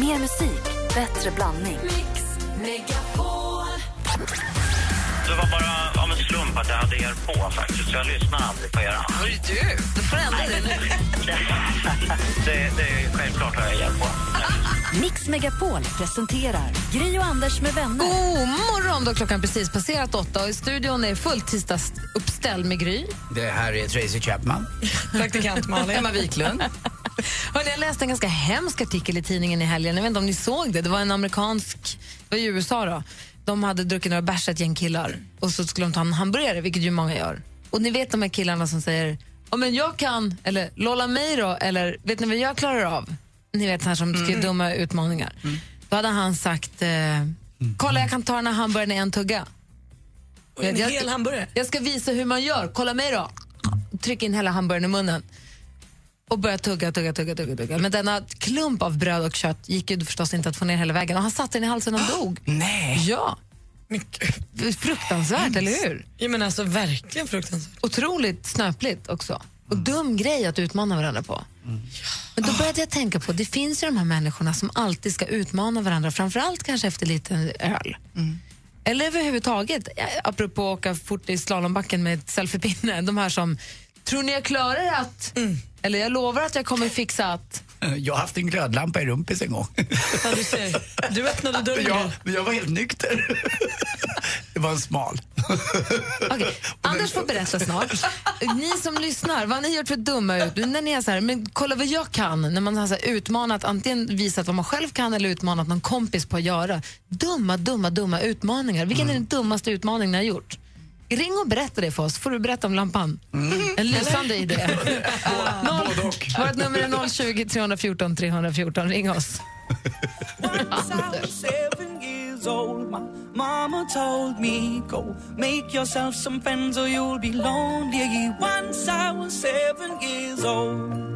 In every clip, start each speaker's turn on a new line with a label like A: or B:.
A: Mer musik, bättre blandning.
B: Det var bara av en slump att jag hade er på faktiskt. Så jag lyssnar aldrig på er.
C: Hörru du, du får ändra dig nu.
B: Det, det är självklart har jag er på.
A: Mix Megapol presenterar Gri och Anders med vänner.
C: God morgon! Då klockan precis passerat åtta och i studion är fullt tisdagsuppställ med Gry.
D: Det här är Tracy Chapman.
C: Praktikant Malin. Emma Wiklund. Hörrni, jag läste en ganska hemsk artikel i tidningen i helgen. Jag vet inte om ni såg det. Det var en amerikansk, det var i USA då. De hade druckit några bärs, ett gäng killar. Och så skulle de ta en hamburgare, vilket ju många gör. Och ni vet de här killarna som säger ja men jag kan, eller lolla mig då, eller vet ni vad jag klarar av? Ni vet så här som ska ge dumma utmaningar. Då hade han sagt, eh, kolla jag kan ta den här hamburgaren i en tugga.
E: En
C: Jag-
E: hel hamburgare?
C: Jag ska visa hur man gör. Kolla mig då. Tryck in hela hamburgaren i munnen. Och börja tugga, tugga, tugga, tugga, tugga. Men denna klump av bröd och kött gick ju förstås inte att få ner hela vägen. Och han satte den i halsen och dog.
D: Nej!
C: Ja,
E: Men gud.
C: fruktansvärt, eller hur?
E: Ja, men alltså verkligen fruktansvärt.
C: Otroligt snöpligt också. Och dum grej att utmana varandra på. Men då började jag tänka på, det finns ju de här människorna som alltid ska utmana varandra, framförallt kanske efter lite öl.
F: Mm.
C: Eller överhuvudtaget, eh, apropå att åka fort i slalombacken med ett selfiepinne, de här som, tror ni jag klarar att, eller jag lovar att jag kommer fixa att,
D: Jag har haft en glödlampa i rumpis en gång.
E: Ja, du, ser. du öppnade dörren.
D: Jag, jag var helt nykter. Det var en smal.
C: Okej, Anders får berätta snart. Ni som lyssnar, vad har ni gjort för dumma ut? När ni är så här, men kolla vad jag kan. När man har så här utmanat, antingen visat vad man själv kan eller utmanat någon kompis på att göra. Dumma, dumma, dumma utmaningar. Vilken är den dummaste utmaningen ni har gjort? Ring och berätta det för oss, får du berätta om lampan. En lysande idé. Noll- Vårt nummer är 020 314 314. Ring oss.
F: seven years old, my mama told me, Go make yourself some friends or you'll be lonely. Once I was seven years old.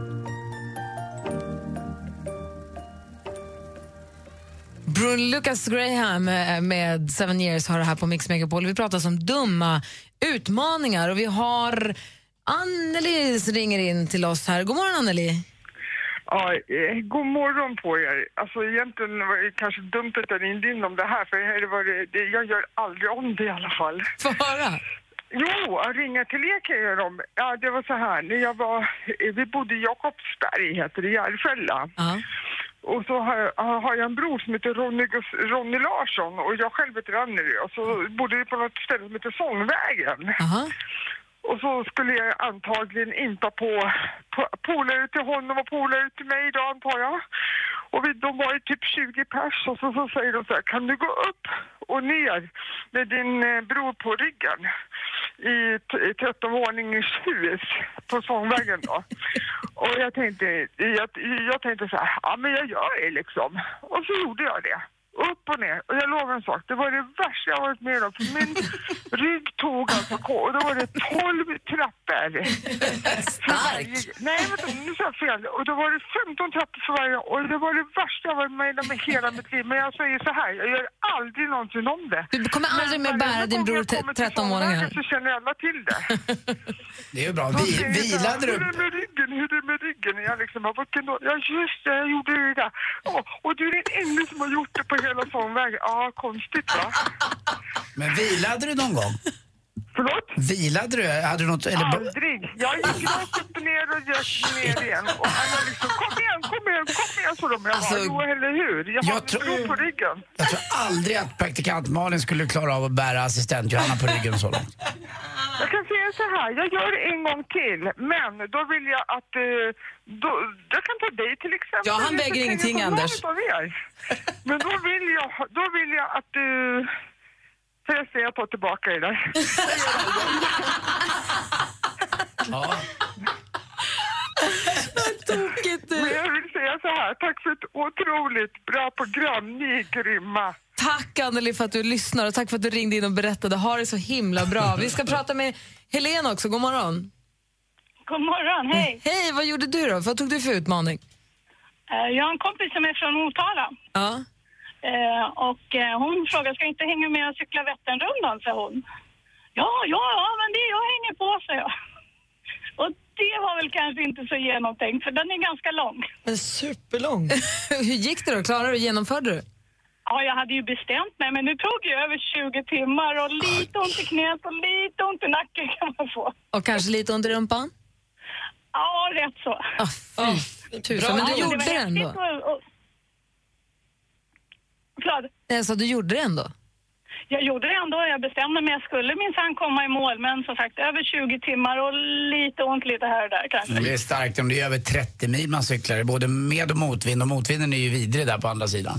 C: Brun Lucas Graham eh, med Seven Years har det här på Mix Megapol. Vi pratar om dumma utmaningar och vi har Anneli som ringer in till oss här. God morgon Anneli.
G: Ja, eh, god morgon på er. Alltså egentligen var det kanske dumt att jag ringde in om det här för här var det, det, jag gör aldrig om det i alla fall.
C: Få höra.
G: Jo, att ringa till er kan jag göra om. Ja, det var så här, när jag var, eh, vi bodde i Jakobsberg, heter det, i Järfälla.
C: Ja.
G: Och så har jag, har jag en bror som heter Ronny, Gus- Ronny Larsson och jag själv heter Anneli och så bodde vi på något ställe som heter Sångvägen.
C: Aha.
G: Och så skulle jag antagligen inte ha på po- polare till honom och polare till mig då antar jag. Och vi, de var ju typ 20 pers och så, så säger de så här, kan du gå upp och ner med din eh, bror på ryggen i t- i 13 våningars hus på Sångvägen då? och jag tänkte, jag, jag tänkte så här, ja men jag gör det liksom. Och så gjorde jag det. Upp och ner. Och jag lovar en sak, det var det värsta jag varit med om. För min rygg tog alltså K och då var det 12 trappor. För varje, nej, vänta, nu sa jag fel. Och då var det 15 trappor för varje och det var det värsta jag varit med om i hela mitt liv. Men jag säger så här, jag gör aldrig någonsin om det.
C: Du kommer aldrig mer
G: varenda
C: bära din
G: gång
C: bror
G: jag
C: till
G: kommer till
C: 13
G: sångvägen
C: våningar.
G: Så känner alla till det.
D: Det är ju bra.
G: De
D: Vi,
G: säger så här,
D: vilade
G: Hur är
D: du?
G: det med ryggen? Hur är det med ryggen? Jag liksom, bara, vilken då? Ja just det, jag gjorde det där. Åh, och du är den enda som har gjort det på hela sångvägen. Ja, konstigt va?
D: Men vilade du någon gång?
G: Förlåt?
D: Vilade du? Hade du något, eller,
G: Aldrig. Jag gick
D: Ah.
G: rakt upp och ner och gick ner igen. Och alla liksom, kom igen, kom igen, kom igen, sa de. Jag bara,
D: Alltså,
G: jo eller hur? Jag
D: jag
G: har
D: tror-
G: en tro på ryggen.
D: jag tror aldrig att praktikant Malin skulle klara av att bära assistent Johanna på ryggen så långt.
G: Jag kan säga så här, jag gör det en gång till, men då vill jag att... eh, Då, jag kan ta dig till exempel.
E: Ja, han väger
G: Jag kan
E: ingenting,
G: ju ta någon
E: Anders.
G: av er. Men då vill jag, då vill jag att du... Förresten, jag tar tillbaka det där.
D: Ja.
G: Men jag vill säga så här, tack för ett otroligt bra program. Ni är grymma.
C: Tack Anneli för att du lyssnar och tack för att du ringde in och berättade. Ha det så himla bra. Vi ska prata med Helena också. God morgon.
H: God morgon, hej.
C: Hej, vad gjorde du då? Vad tog du för utmaning?
H: Eh, Jag har en kompis som är från Motala
C: Ja.
H: Eh, och eh, hon frågade, ska jag inte hänga med och cykla Vätternrundan, sa hon. Ja, ja, ja, men det jag hänger på, sa jag. Och det var väl kanske inte så genomtänkt för den är ganska lång.
E: Men superlång.
C: Hur gick det då? Klarade du? Genomförde du?
H: Ja, jag hade ju bestämt mig men nu tog jag över 20 timmar och lite ont i knät och lite ont i nacken kan man få.
C: Och kanske lite under rumpan?
H: Ja, rätt så.
C: Ah, fy tusan.
E: bra.
C: Men
H: Ja,
C: du
H: men
C: gjorde det
H: var häftigt
C: ändå?
H: och- och- Förlåt,
C: Alltså, du gjorde det ändå?
H: jag gjorde det ändå. Jag bestämde mig. Jag skulle minsann komma i mål, men som sagt, över 20 timmar och lite ont lite här och där kanske.
D: Det är starkt om det är över 30 mil man cyklar. Det är Både med och motvind. Och motvinden är ju vidrig där på andra sidan.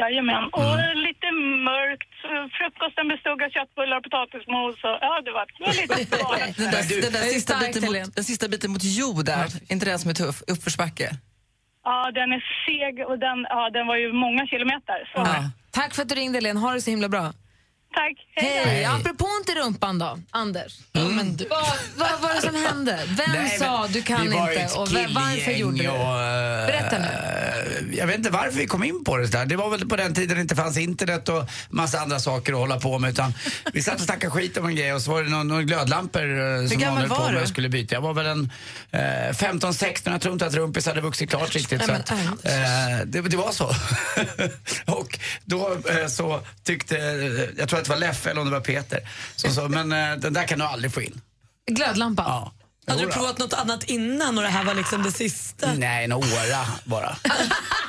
H: Jajamän. Och lite mörkt. Frukosten bestod av köttbullar och potatismos. Och, ja, det var, det var lite galet.
I: Den, där, den, där
C: det är
I: sista
C: starkt,
I: biten
C: Helene.
I: mot, den sista biten mot jord där, inte den som är tuff, uppförsbacke.
H: Ja, den är seg och den, ja, den var ju många kilometer. Så.
I: Ja.
C: Tack för att du ringde, Helene. Ha det så himla bra.
H: Tack. Hej.
C: Hej!
D: Hej.
C: Apropå inte rumpan då, Anders.
D: Mm.
C: Men du... vad, vad var det som hände? Vem
D: Nej, men
C: sa du kan
D: vi var ju
C: inte
D: ett
C: och vem, varför
D: killgäng
C: gjorde du det?
D: och, eh,
C: Berätta nu.
D: eh, Jag vet inte varför vi kom in på det där. Det var väl på den tiden det inte fanns internet och massa andra saker att hålla på med. Utan vi satt och snackade skit om en grej och så var det någon, någon glödlampor eh, som någon
I: gammal
D: höll på
I: var
D: med
I: du?
D: och skulle byta. Jag var väl en eh, 15-16, jag tror inte att rumpis hade vuxit klart riktigt. Så
C: men
D: att, eh, det, det var så. och då eh, så tyckte, eh, jag tror att det var Leffe eller om det var Peter, som sa men eh, den där kan du aldrig få in.
C: Glödlampa?
D: Ja.
E: Hade du
D: Jodå.
E: provat något annat innan och det här var liksom det sista?
D: Nej, en åra bara.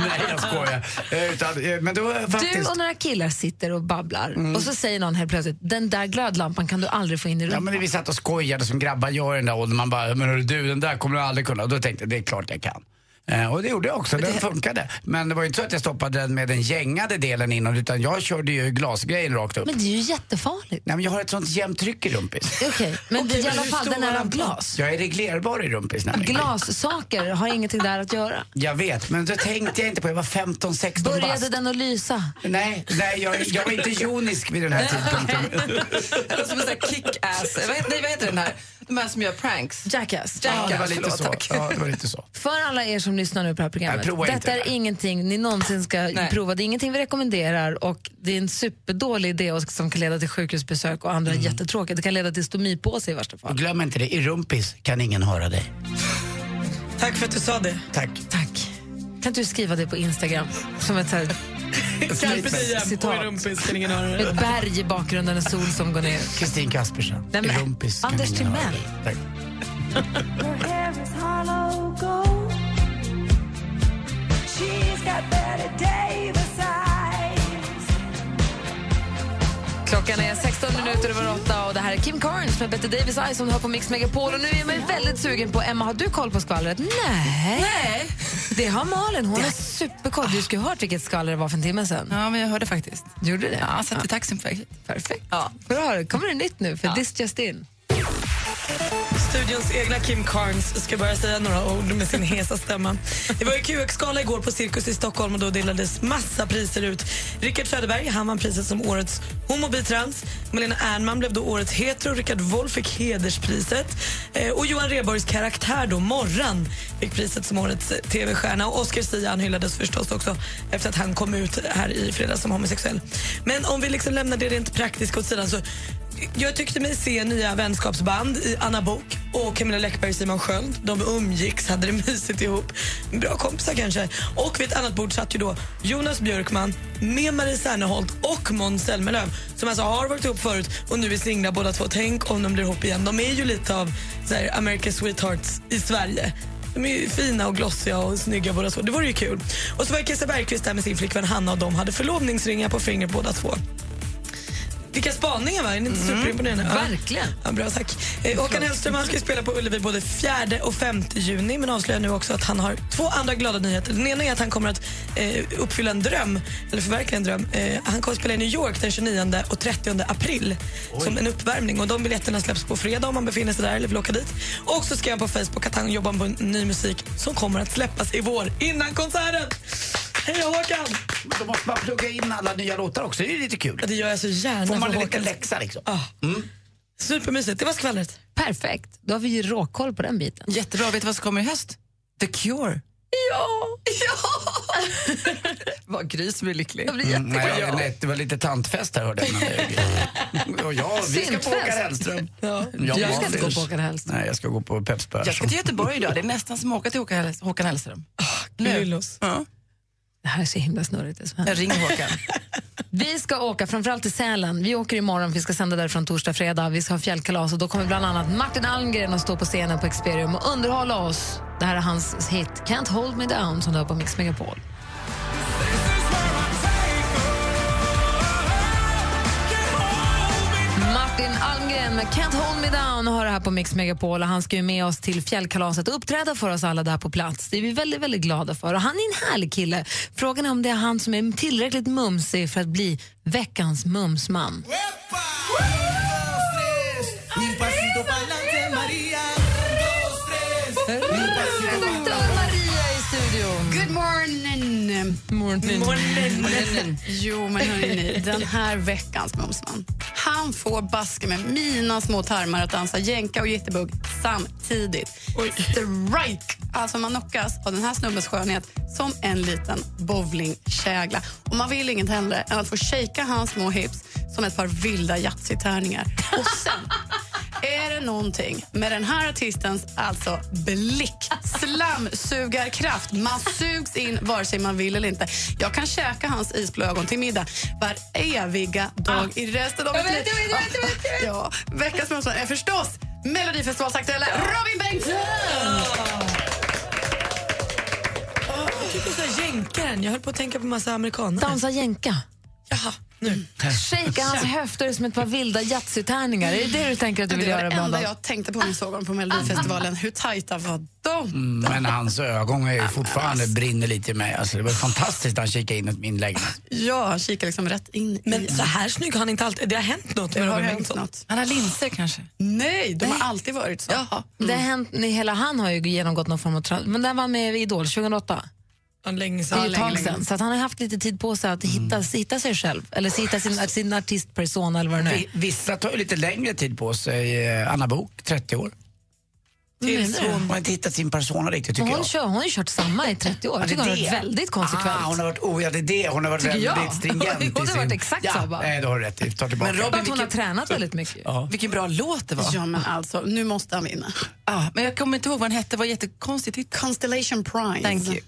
D: Nej, jag skojar. Eh, Utan, eh, men det var
C: Du
D: faktiskt... Mm.
C: och några killar sitter och babblar och så säger någon helt plötsligt den där glödlampan kan du aldrig få in i
D: Ja,
C: rumpan.
D: men vi satt och skojade som grabbar gör i den där åldern. Man bara, men hörru, du, den där kommer du aldrig kunna. Och då tänkte jag, det är klart jag kan. Eh, Och det gjorde jag också, den funkade. Men det var ju inte så att jag stoppade den med den gängade delen inåt utan jag körde ju glasgrejen rakt upp.
C: Men det är ju jättefarligt.
D: Nej men jag har ett sånt jämnt tryck i rumpis.
C: Okej, men
E: Okej,
C: i
E: men
C: alla
E: hur
C: fall
E: stor
C: den
E: var
C: är av
E: lampan?
C: glas.
D: Jag är reglerbar i rumpis nämligen.
C: Glassaker har ingenting där att göra.
D: Jag vet, men då tänkte jag inte på, jag var 15, 16 bast.
C: Började den att lysa?
D: Nej, nej jag, jag var inte jonisk vid den här tidpunkten.
I: Eller som en sån här kick-ass, vad heter, nej, vad heter den här? De här som gör pranks.
C: Jackass.
I: Jackass,
D: Ja, det var lite
I: förlåt,
D: så.
I: tack.
D: Ja, det var lite så.
C: För alla er som lyssnar nu på det här programmet.
D: Nej, prova
C: detta
D: inte det
C: är
D: där.
C: ingenting ni någonsin ska prova. Det är ingenting vi rekommenderar och det är en superdålig idé och som kan leda till sjukhusbesök och
D: Mm.
C: andra jättetråkiga. Det kan leda till stomipåse i värsta fall.
D: Och glöm inte det, i rumpis kan ingen höra dig.
E: Tack för att du sa det.
D: Tack.
C: Tack. Kan inte du skriva det på Instagram som ett, så här,
D: Typ
E: Carpe diem och
C: Citat.
E: i rumpis kan ingen höra det.
C: ett berg i bakgrunden, en sol som går ner?
D: Kristin Kaspersen.
C: Nej,
D: I
C: men-
D: rumpis kan
C: Anders
D: ingen höra dig.
C: Timell.
D: Tack.
C: Klockan är 16 minuter över 8 och det här är Kim Carnes med Bette Davis Eye som du har på Mix Megapol. Och nu är man ju väldigt sugen på, Emma har du koll på skvallret? Nej. Nej. Det har Malin, hon har superkoll. Du skulle ha hört vilket skvaller det var för en timme sedan.
I: Ja, men jag hörde faktiskt.
C: Gjorde du det?
I: Ja, satt i taxin faktiskt.
C: Perfekt.
I: Ja.
C: Bra, kommer det nytt nu för This Just In.
E: Studions egna Kim Carnes ska börja säga några ord med sin hesa stämma. Det var ju QX-gala igår på Cirkus i Stockholm och då delades massa priser ut. Rickard Söderberg han vann priset som årets homo bitrans. Malena Ernman blev då årets hetero. Rickard Wolff fick hederspriset. Eh, och Johan Rheborgs karaktär då, Morran, fick priset som årets eh, tv-stjärna. Och Oscar Sia han hyllades förstås också efter att han kom ut här i fredags som homosexuell. Men om vi liksom lämnar det rent praktiska åt sidan så jag tyckte mig se nya vänskapsband i Anna Bok och Camilla Läckberg och Simon Sköld. De umgicks, hade det mysigt ihop. Bra kompisar kanske. Och vid ett annat bord satt ju då Jonas Björkman med Marie Serneholt och Måns Zelmerlöw som alltså har varit ihop förut och nu är singlar båda två. Tänk om de blir ihop igen. De är ju lite av så här, America's sweethearts i Sverige. De är ju fina och glossiga och snygga båda två. Det vore ju kul. Och så var Kajsa Bergqvist där med sin flickvän Hanna och de hade förlovningsringar på fingret båda två. Vilka spaningar va? Är ni inte superimponerande? Ja.
C: Verkligen.
E: Ja, bra, tack. Eh, Håkan Hellström han ska ju spela på Ullevi både 4 och 5 juni men avslöjar nu också att han har två andra glada nyheter. Den ena är att han kommer att eh, uppfylla en dröm, eller förverkliga en dröm. Eh, han kommer att spela i New York den 29 och 30 april som en uppvärmning. Och De biljetterna släpps på fredag om man befinner sig där eller vill åka dit. Och så skrev han på Facebook att han jobbar på ny musik som kommer att släppas i vår innan konserten. Hej Håkan!
D: Men då måste man plugga in alla nya låtar också, det är ju lite kul.
E: Ja, Det gör jag så gärna
D: Får man
E: för
D: en liten
E: Håkans-
D: läxa liksom.
E: Ja. Supermysigt. Det var skvallret.
C: Perfekt. Då har vi ju råkoll på den biten.
I: Jättebra, vet du vad som kommer i höst? The Cure.
C: Ja!
I: Vad Gry som är lycklig.
D: Mm, nej, nej, det var lite tantfest här hörde jag. Men det- Och jag, vi ska på
C: Syntfest.
D: Håkan Hellström.
C: Jag ska
D: var
C: inte gå
D: fyrs.
C: på Håkan Hellström.
D: Nej, jag ska gå på Peps
I: Jag ska
D: Persson.
I: till Göteborg idag. Det är nästan som att åka till Håkan Hell- Håkan Hellström. Nu.
E: Lillos.
I: Ja.
C: Det här är så himla snurrigt. Det som händer.
I: Jag ringer Håkan.
C: Vi ska åka framförallt till Sälen. Vi åker imorgon, vi ska sända därifrån torsdag, fredag. Vi ska ha fjällkalas och då kommer bland annat Martin Almgren att stå på scenen på Experium och underhålla oss. Det här är hans hit Can't hold me down som du har på Mix Megapol. Martin Almgren med Can't hold me down har det här på Mix Megapol och han ska ju med oss till fjällkalaset och uppträda för oss alla där på plats. Det är vi väldigt, väldigt glada för och han är en härlig kille. Frågan är om det är han som är tillräckligt mumsig för att bli veckans mumsman. Doktor Maria i studion.
J: Good morning!
C: Morning.
J: Jo, men hörni, den här veckans Mumsman. Han får baske med mina små tarmar att dansa jänka och jitterbug samtidigt. Strike! Alltså man knockas av den här snubbens skönhet som en liten bowlingkägla. Och man vill inget hellre än att få shaka hans små hips som ett par vilda yatzy-tärningar. Och sen är det någonting med den här artistens alltså blick, slamsugarkraft. Man sugs in vare sig man vill eller inte. Jag kan käka hans isblå ögon till middag var eviga
C: Ah.
J: dag i resten av mitt liv. Ja, veckans motstånd är förstås Melodifestivalsaktuella Robin Bengtzing!
E: Jag tycker så här jänkaren. Jag höll på att tänka på massa amerikaner.
C: Dansa jänka.
E: Jaha, nu.
C: Shakea hans höfter som ett par vilda yatzy-tärningar. Är det det du tänker att du vill
J: Det var
C: göra,
J: det enda
C: Blondin?
J: jag tänkte på när jag såg honom på Melodifestivalen. Hur tajta var de?
D: Mm, Men hans ögon är ju fortfarande brinner lite i mig. Alltså, det var fantastiskt när han kikade in i min lägenhet.
J: Ja, han kikar liksom rätt in i
E: Men så här snygg har han inte alltid. Det har hänt något med
J: Har
E: Robin
J: det hänt
E: Bengtsson.
J: något?
I: Han har linser kanske.
J: Nej, de har alltid varit så. Jaha.
C: Det har hänt, ni- hela han har ju genomgått någon form av... tra- Men där var han med i Idol 2008.
E: Ja, länge
C: Det är
E: sedan.
C: ju ett tag sedan. Så att han har haft lite tid på sig att hitta,
I: Mm.
C: hitta sig själv. Eller hitta sin, sin artistpersona eller vad det nu är.
D: Vi- Vissa tar ju lite längre tid på sig. Eh, Anna Bok, 30 år.
C: Menar
D: Tills
C: du?
D: hon har inte hittat sin persona riktigt tycker
C: Men hon,
D: jag.
C: kör, hon har ju kört samma i 30 år. Jag tycker hon har varit väldigt konsekvent.
D: Alltså, Ah, hon har varit, oh, ja, det är det. Hon har varit
C: Tycker
D: väldigt
C: jag.
D: stringent. i
C: Hon har
D: sin-
C: varit exakt
D: ja,
C: så, bara.
D: Nej, det har du rätt i. Ta tillbaka.
I: Men Robin,
C: Bara att hon har tränat väldigt mycket.
I: Vilken bra låt det var.
J: Ja, men alltså, nu måste han vinna.
I: Ah, men jag kommer inte ihåg vad den hette. Det var jättekonstigt. titel.
J: Constellation Prize.
I: Thank you.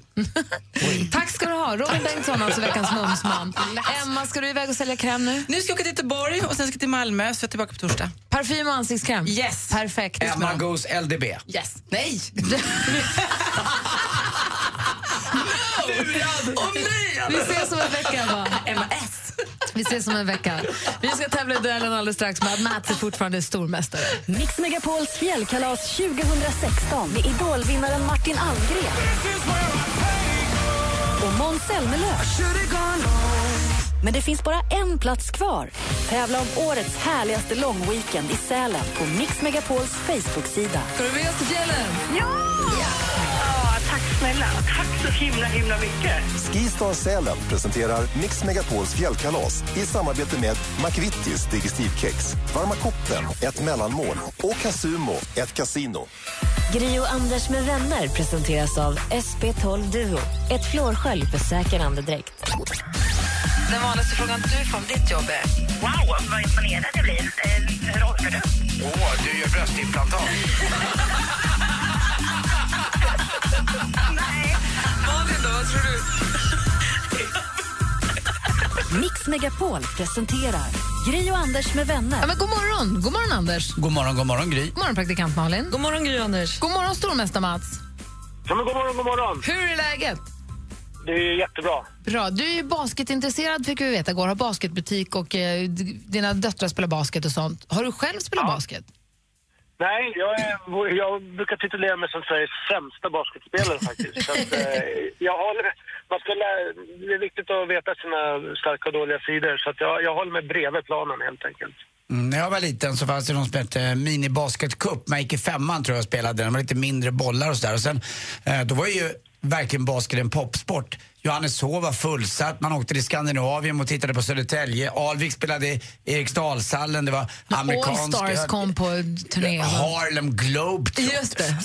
C: Tack ska du ha. Robin Bengtsson, alltså veckans mumsman. Emma, ska du iväg och sälja kräm nu?
I: Nu ska jag åka till Göteborg och sen ska jag till Malmö, så jag är tillbaka på torsdag.
C: Parfym och ansiktskräm?
I: Yes.
C: Perfekt.
D: Emma goes LDB.
I: Yes. Nej!
C: Vi ses om en vecka, Emma.
I: Emma S.
C: Vi ses om en vecka. Vi ska tävla i duellen alldeles strax, men Mats är fortfarande stormästare.
A: Mix Megapols fjällkalas 2016 med idolvinnaren Martin Almgren. Och Måns Zelmerlöw. Men det finns bara en plats kvar. Tävla om årets härligaste långweekend i Sälen på Mix Megapols Facebook-sida.
C: Ska du med oss till fjällen?
H: Ja, tack snälla. Tack så himla, himla mycket.
K: Skistar Sälen presenterar Mix Megapols fjällkalas i samarbete med McVittys Digestivkex, Varma koppen, ett mellanmål och Casumo, ett kasino.
A: Gri och Anders med vänner presenteras av SP12 Duo. Ett flårskölj för säker andedräkt.
C: Den vanligaste frågan du får om ditt jobb är?
H: Wow, vad imponerad jag blir. Eh, Hur orkar du?
D: Åh, du gör bröstimplantat.
A: Mix Megapol presenterar Gri och Anders med vänner.
C: Ja, men god morgon! God morgon, Anders.
D: God morgon, god morgon Gry.
C: God morgon, praktikant Malin.
E: God morgon, Gry Anders.
C: God morgon, stormästare Mats.
B: Ja, men god morgon, god morgon.
C: Hur är läget?
B: Det är jättebra.
C: Bra. Du är ju basketintresserad, fick vi veta igår. Har basketbutik och eh, d- dina döttrar spelar basket och sånt. Har du själv spelat basket?
B: Nej, jag, är, jag brukar titulera mig som Sveriges sämsta basketspelare faktiskt. Så att, eh, jag håller, man ska lä- det är viktigt att veta sina starka och dåliga sidor. Så att jag, jag håller mig bredvid planen helt enkelt.
D: Mm, när jag var liten så fanns det någon som hette Mini Basket Cup. Man gick i femman tror jag och spelade den. Det var lite mindre bollar och sådär. Och sen, eh, då var ju verkligen basket en popsport. Johanneshov var fullsatt, man åkte till Skandinavien och tittade på Södertälje. Alvik spelade i Eriksdalshallen, det var amerikanska...
C: All Stars kom på turné.
D: Harlem Globetrotters.
C: Just det.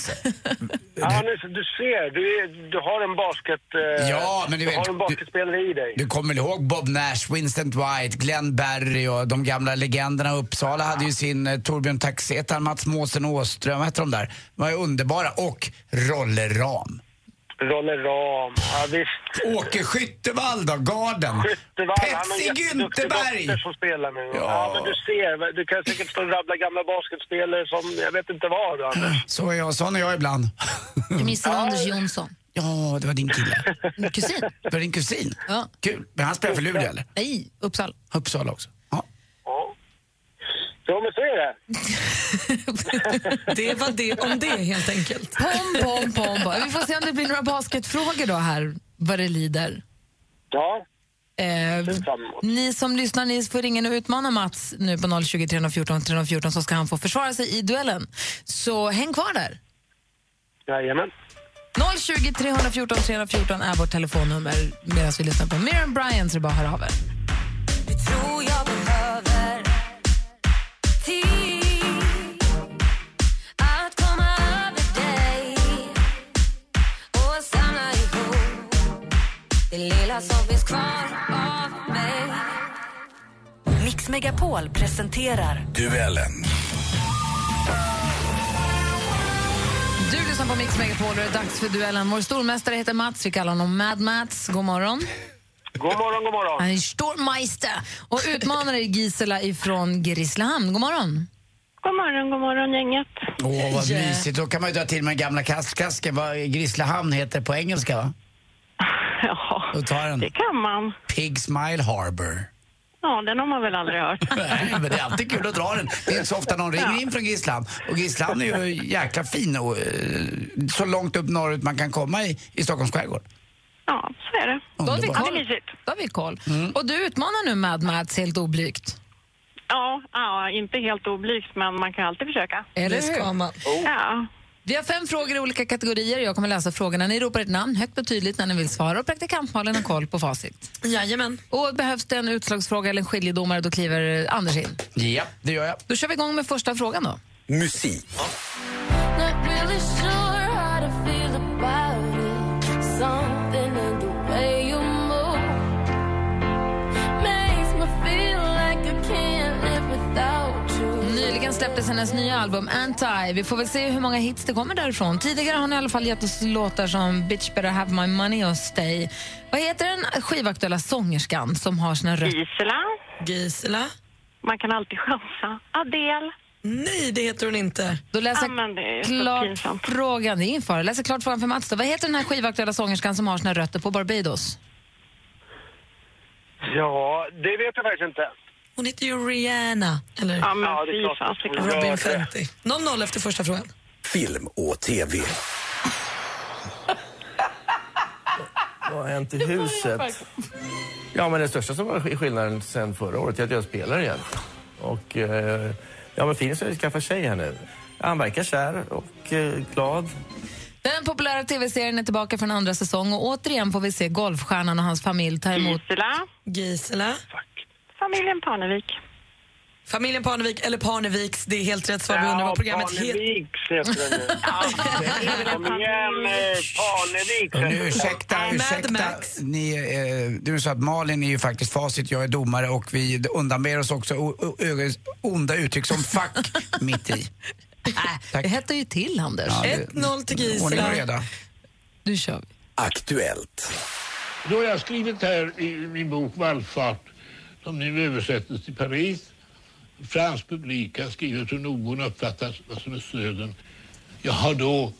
B: Ja, nu, du ser, du, är- du har en basket... eh,
D: Ja, men du vet-
B: har en basketspelare i dig.
D: Du kommer ihåg Bob Nash, Winston Dwight, Glenn Barry och de gamla legenderna. Uppsala hade ju sin eh, Torbjörn Taxeta, Mats Måsen Åström, vad hette de där? De var ju underbara. Och Rolle Ram.
B: Rolle Ram, ja visst.
D: Åke Skyttevall då, garden.
B: Skyttevall, han har en
D: Pepsi
B: jätteduktig
D: Günterberg.
B: dotter som spelar nu. Ja.
D: Ja.
B: men du ser, du kan säkert stå och rabbla gamla basketspelare som, jag vet inte vad Anders.
D: Så är jag, sån är jag ibland.
C: Du missar Anders Jonsson.
D: Ja, det var din kille.
C: Min kusin.
D: Det var din kusin.
C: Ja.
D: Kul. Men han spelar för Luleå eller?
C: Nej, Uppsala.
D: Uppsala också. Ja.
B: Ja, men så är det.
E: Det var det om det helt enkelt.
C: Pom, pom, pom, pom. Vi får se om det blir några basketfrågor då här, vad det lider.
B: Ja.
C: Eh, ni som lyssnar ni får ringa in och utmana Mats nu på 020 314 314 så ska han få försvara sig i duellen. Så häng kvar där.
B: Jajamän.
C: 020 314 314 är vårt telefonnummer medan vi lyssnar på Miriam Bryant så det är bara att höra av er.
L: tror jag behöver tid att komma över dig och samla ihop det lilla som finns kvar av mig
A: Mix Megapol presenterar...
M: Duellen.
C: Du lyssnar på Mix Megapol och det är dags för duellen. Vår stormästare heter Mats, vi kallar honom Mad Mats. God morgon.
B: God morgon, god morgon.
C: Han är stormeister och utmanare är Gisela ifrån Grisslehamn. God morgon.
H: God morgon, god morgon gänget.
D: Åh, vad
C: Yeah.
D: mysigt. Då kan man ju dra till med den gamla kastkasken. Vad Grisslehamn heter på engelska, va? Ja, Då tar den. det
H: kan man.
D: Pig Smile Harbor.
H: Ja, den har man väl aldrig hört.
D: Nej, men det är alltid kul att dra den. Det är inte så ofta någon ringer in från Grisslehamn. Och Grisslehamn är ju jäkla fin och eh, så långt upp norrut man kan komma i, i Stockholms skärgård.
H: Ja, så är det.
C: Då har vi
D: Underbart.
C: koll. Då har vi koll. Och du utmanar nu Mad Mats helt oblygt.
H: Ja, ja inte helt oblygt, men man kan alltid försöka.
C: Eller hur? Oh.
H: Ja.
C: Vi har fem frågor i olika kategorier. Jag kommer läsa frågorna. Ni ropar ett namn högt och tydligt när ni vill svara och praktikantmalen har koll på facit.
E: Jajamän.
C: Och behövs det en utslagsfråga eller en skiljedomare då kliver Anders in.
D: Ja, det gör jag.
C: Då kör vi igång med första frågan då.
M: Musik.
L: Not really sure how to feel about it Something in the way you move Makes me feel like I can't live without you
C: Nyligen släpptes hennes nya album Anti. Vi får väl se hur många hits det kommer därifrån. Tidigare har ni i alla fall gett oss låtar som Bitch better have my money och Stay. Vad heter den skivaktuella sångerskan som har sina rötter...
H: Gisela.
E: Gisela.
H: Man kan alltid chansa. Adele.
E: Nej, det heter hon inte.
C: Då läser
H: Ja, men det är
C: jag
H: så
C: klart
H: pinsamt.
C: frågan. Det är ingen fara. Läser klart frågan för Mats. Då. Vad heter den här skivaktuella sångerskan som har sina rötter på Barbados?
B: Ja, det vet jag faktiskt inte.
E: Hon heter ju Rihanna. Eller?
H: Ja, men fy fasiken.
E: Robin Fenty. 0-0 efter första frågan.
M: Film och TV.
N: Vad har hänt i huset? Ja, men den största som var sk- skillnaden sen förra året är att jag spelar igen. Och eh, ja, men Filip ska skaffa tjej här nu. Han verkar kär och eh, glad.
C: Den populära tv-serien är tillbaka från andra säsong och återigen får vi se golfstjärnan och hans familj ta
H: Mm.
C: emot...
H: Gisela.
E: Gisela.
H: Familjen Parnevik.
E: Familjen Parneviks eller Parneviks, det är helt rätt svar. Vi undrar vad programmet heter.
B: Parneviks heter den nu. Kom igen, eh, Parnevik.
D: Och nu, ursäkta, ursäkta. Ni, eh, det är ju så att Malin är ju faktiskt facit, jag är domare och vi undanber oss också o- o- ö- onda uttryck som fuck mitt i.
C: Äh, det hettar ju till, Anders.
D: Ja, det-
E: 1-0 till
D: Ordning och
E: Gisela.
D: reda.
C: Nu kör vi.
M: Aktuellt.
O: Då har jag skrivit här i min bok Vallfart som nu översätts till Paris. Fransk publik har skrivit hur nordborna uppfattar vad som är södern. Jag har då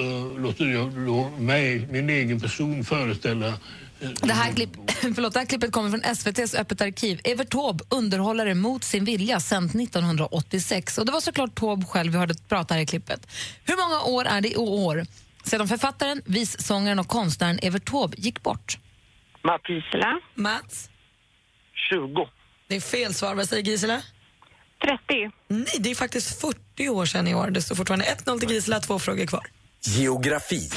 O: uh, låtit jag, då mig, min egen person föreställa eh,
C: Det här, klipp, förlåt, det här klippet kommer från SVTs Öppet arkiv. Evert Taube, underhållare mot sin vilja, sänt 1986. Och Det var såklart Taube själv vi hörde prata här i klippet. Hur många år är det i år sedan författaren, vissångaren och konstnären Evert Taube gick bort?
B: Mats. Gisela.
E: Mats.
B: 20.
E: Det är fel svar. Vad säger Gisela? 30. Nej, det är faktiskt 40 år sedan i år. Det står fortfarande 1-0 till Gisela, två frågor kvar.
M: Geografi.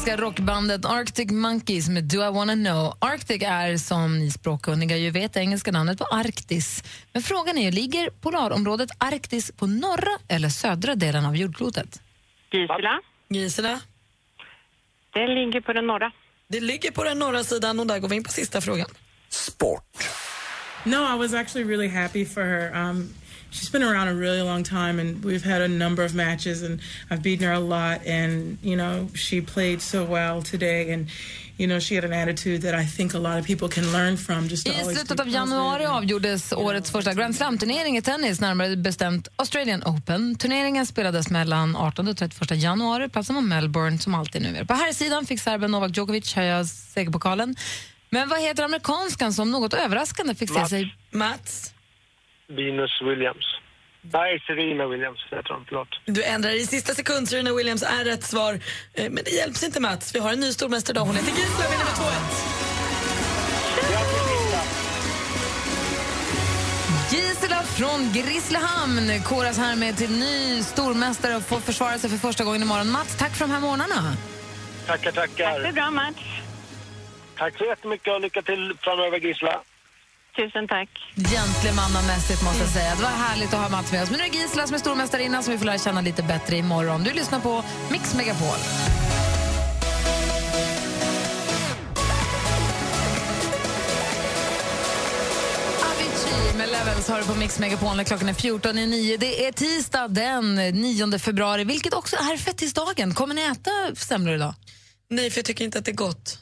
C: svenska rockbandet Arctic Monkeys med Do I Wanna Know. Arctic är, som ni språkkunniga ju vet, det engelska namnet på Arktis. Men frågan är ju, ligger polarområdet Arktis på norra eller södra delen av jordklotet?
E: Gisela. Gisela. Den ligger på den norra. Det ligger på den norra sidan och där går vi in på sista frågan.
M: Sport.
P: No, I was actually really happy for her. Um, she's been around a really long time, and we've had a number of matches, and I've beaten her a lot. And you know, she played so well today, and you know, she had an attitude that I think a lot of people can learn from. Just to
C: I
P: always
C: slutet
P: be
C: av januari avgjordes årets första Grand Slam-turnering i tennis, närmare bestämt Australian Open. Turneringen spelades mellan 18 och 31 januari. Platsen var Melbourne, som alltid numera. På här sidan fick serben Novak Djokovic höja segerpokalen. Men vad heter amerikanskan som något överraskande fick se
B: Mats.
C: sig... Mats?
B: Venus Williams. Nej, Serena Williams heter hon, förlåt.
E: Du ändrar i sista sekund, Serena Williams är rätt svar. Eh, Men det hjälps inte Mats, vi har en ny stormästare idag. Hon heter Gisela med nummer 2-1.
C: Gisela från Grisslehamn koras härmed till ny stormästare och får försvara sig för första gången imorgon. Mats, tack för de här morgnarna.
B: Tackar, tackar. Tack för
H: bra match.
B: Tack så jättemycket och lycka till framöver, Gisla.
H: Tusen tack.
C: Gentlemannamässigt måste jag säga. Det var härligt att ha Mats med oss. Men nu är det Gisela som är stormästarinna som vi får lära känna lite bättre imorgon. Du lyssnar på Mix Megapol. Avicii Med Levels har du på Mix Megapol när klockan är 14 i 9. Det är tisdag den 9 februari, vilket också är fettisdagen. Kommer ni äta semlor idag?
E: Nej, för jag tycker inte att det är gott.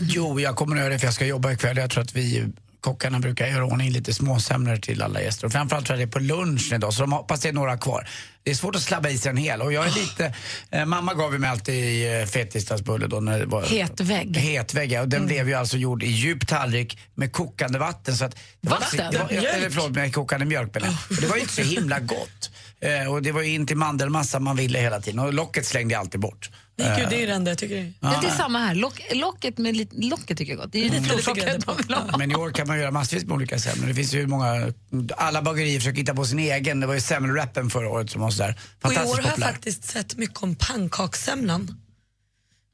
D: Jo, jag kommer att göra det för jag ska jobba ikväll. Jag tror att vi kockarna brukar göra i ordning lite småsemlor till alla gäster. Och framförallt tror jag det är på lunchen idag, så de hoppas det är några kvar. Det är svårt att slabba i sig en hel. Och jag är
E: Ah.
D: lite, eh, mamma gav ju mig alltid eh, fettisdagsbulle då när det var...
C: Hetvägg.
D: Hetvägg, ja. Och den
E: Mm.
D: blev ju alltså gjord i djup tallrik med kokande vatten. Så att det var
C: Vatten?
D: inte- det var- Eller
C: Mjölk?
D: förlåt, med kokande mjölk menar
E: Ah.
D: jag. Och Det var ju inte så himla gott. Eh, Och det var ju inte mandelmassa man ville hela tiden. Och locket slängde jag alltid bort.
E: Nej, gud, det är
D: Eh,
E: ju det enda jag tycker.
D: Ja,
C: det är
D: nej.
C: samma här. Lock, locket, med, li- locket tycker jag är gott. Det är ju
E: Mm.
C: lite locket man vill ha.
D: Men i år kan man göra massvis med olika semlor. Det finns ju många, alla bagerier försöker hitta på sin egen. Det var ju semmelwrappen förra året som var sådär
E: Och i år
D: fantastiskt
E: har jag
D: populär.
E: faktiskt sett mycket om pannkakssemlan.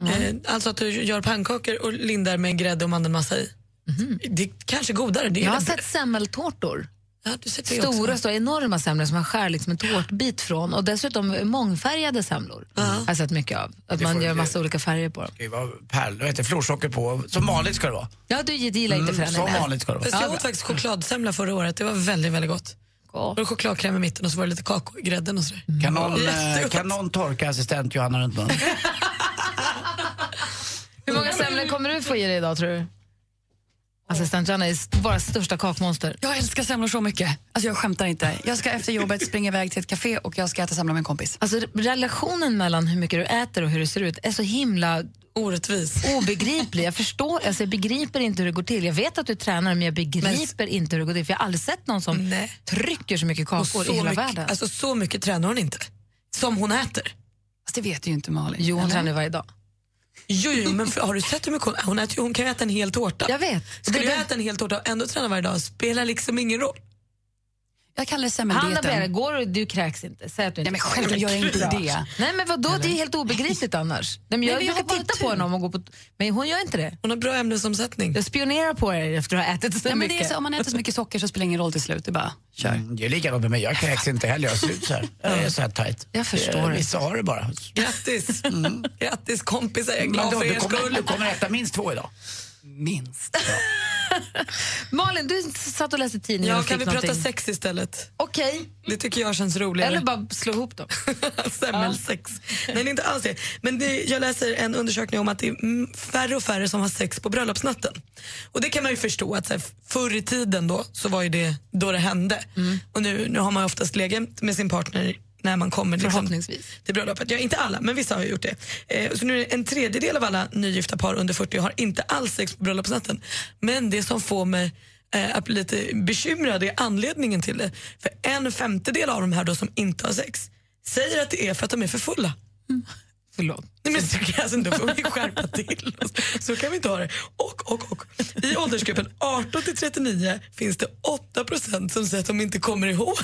E: Eh, alltså att du gör pannkakor och lindar med grädde och mandelmassa i. Det är kanske godare. Det är
C: Mhm. Jag har
E: det-
C: sett semmeltårtor.
E: Ja, du ser det
C: Stora,
E: också.
C: stora, enorma semlor som man skär liksom en tårtbit från. Och dessutom mångfärgade semlor har jag sett mycket av. Att
D: Det
C: man
D: får
C: gör
D: det.
C: massa olika färger på dem.
D: Det var pärlor, vet du, florsocker på. Som vanligt ska det vara.
C: Ja, du gillar inte
D: Mm,
C: förändringar.
D: som vanligt ska det vara.
E: Fast jag åt faktiskt chokladsemla förra året. Det var väldigt, väldigt gott.
C: Det
E: var chokladkräm i mitten och så var det lite kakao i grädden och sådär.
D: Kan någon, eh,
E: Jättegott.
D: kan någon torka assistent Johanna runt munnen?
C: Hur många semlor kommer du få i dig idag tror du? Assistent Johanna är st- våra största kakmonster.
Q: Jag älskar semlor så mycket. Alltså jag skämtar inte. Jag ska efter jobbet springa iväg till ett café och jag ska äta semla med en kompis.
C: Alltså re- relationen mellan hur mycket du äter och hur det ser ut är så himla
E: Orättvis.
C: obegriplig. Jag förstår, alltså jag begriper inte hur det går till. Jag vet att du tränar men jag begriper inte hur det går till. För jag har aldrig sett någon som trycker så mycket
E: Och
C: kakor
E: så
C: i hela
E: mycket,
C: världen.
E: Alltså så mycket tränar hon inte. Som hon äter. Fast
Q: det vet ju inte Malin.
C: Jo, hon
E: eller?
C: tränar ju varje dag.
E: Jo, jo men för, har du sett hur mycket hon, hon äter? ju- Hon kan ju äta en hel tårta.
C: Jag vet.
E: Skulle
C: Det-
E: jag
C: det-
E: äta en hel tårta och ändå träna varje dag spelar liksom ingen roll.
Q: Jag kallar det
C: Hanna
Q: semmeldieten.
C: Berg, går och du kräks inte? Säg att du inte
Q: Nej, men själv gör jag inte det.
C: Nej men vadå, det är helt obegripligt annars. Nej, men
Q: Nej,
C: jag
Q: men jag har
C: brukar
Q: bara
C: titta på henne om hon går på... Men hon gör inte det.
E: Hon har bra ämnesomsättning.
C: Jag spionerar på er efter att ha ätit så
Q: Nej, men
C: mycket.
Q: det är så, om man äter så mycket socker så spelar det ingen roll till slut. Det är bara...
D: Kör. Mm, det är likadant med mig. Jag kräks inte heller. Jag ser ut så här. Jag är så här tajt.
Q: Jag förstår
D: Eh,
Q: det.
D: Vissa har det bara.
E: Grattis!
C: Mm.
E: Grattis kompisar, jag är glad
D: Vadå,
E: för
D: du
E: er
D: kommer-
E: skull.
D: Du kommer äta minst två idag.
Q: Minst.
C: Malin, du satt och läste tidningen
E: Ja,
C: och fick
E: kan vi
C: någonting.
E: prata sex istället?
C: Okej.
E: Det tycker jag känns roligare.
C: Eller bara slå ihop dem.
E: Semmelsex. Nej, det är inte alls det. Men det, jag läser en undersökning om att det är mm, färre och färre som har sex på bröllopsnatten. Och det kan man ju förstå att så här, förr i tiden då så var ju det då det hände. Och nu, nu har man ju oftast legat med sin partner när man kommer liksom,
C: Förhoppningsvis.
E: till bröllopet. Ja, inte alla, men vissa har ju gjort det. Eh, så nu är det en tredjedel av alla nygifta par under 40 har inte alls sex på bröllopsnatten. Men det som får mig eh, att bli lite bekymrad är anledningen till det. För en femtedel av de här då som inte har sex säger att det är för att de är för fulla.
C: Förlåt.
E: Nej, men så, kan- alltså, då får vi skärpa till oss. Så kan vi inte ha det. Och, och, och. I åldersgruppen 18 till 39 finns det 8 som säger att de inte kommer ihåg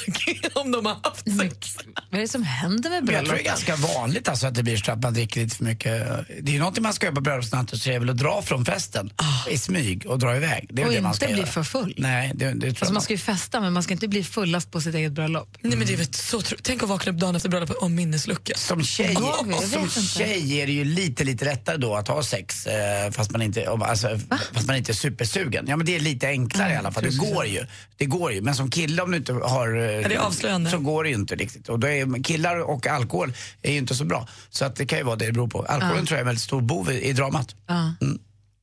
E: om de har haft sex.
C: Vad är det som händer med
D: Men jag tror det är ganska vanligt alltså att det blir så att man dricker lite för mycket. Det är ju någonting man ska göra på bröllopsnatten så är det väl att dra från festen i smyg och dra iväg. Det är
C: Och
D: väl det man
C: inte
D: ska
C: bli
D: göra.
C: för full.
D: Nej, det, det tror jag
C: Alltså man
D: man-
C: ska ju festa, men man ska inte bli fullast på sitt eget bröllop.
E: Nej, men det är väl så tro- Tänk att vakna upp dagen efter bröllopet om minneslucka.
D: Som tjej,
E: jag vet
D: som
E: inte.
D: tjej är det ju lite, lite lättare då att ha sex eh, fast, man inte, om- alltså, fast man inte är supersugen. Ja men det är lite enklare i alla fall. Det går ju. Det går ju. Men som kille om du inte har... eh,
E: Ja, det är avslöjande.
D: Så går det ju inte riktigt. Och då är, killar och alkohol är ju inte så bra. Så att det kan ju vara det det beror på. Alkoholen
C: Ja.
D: tror jag är en väldigt stor bov i, i dramat.
C: Ja.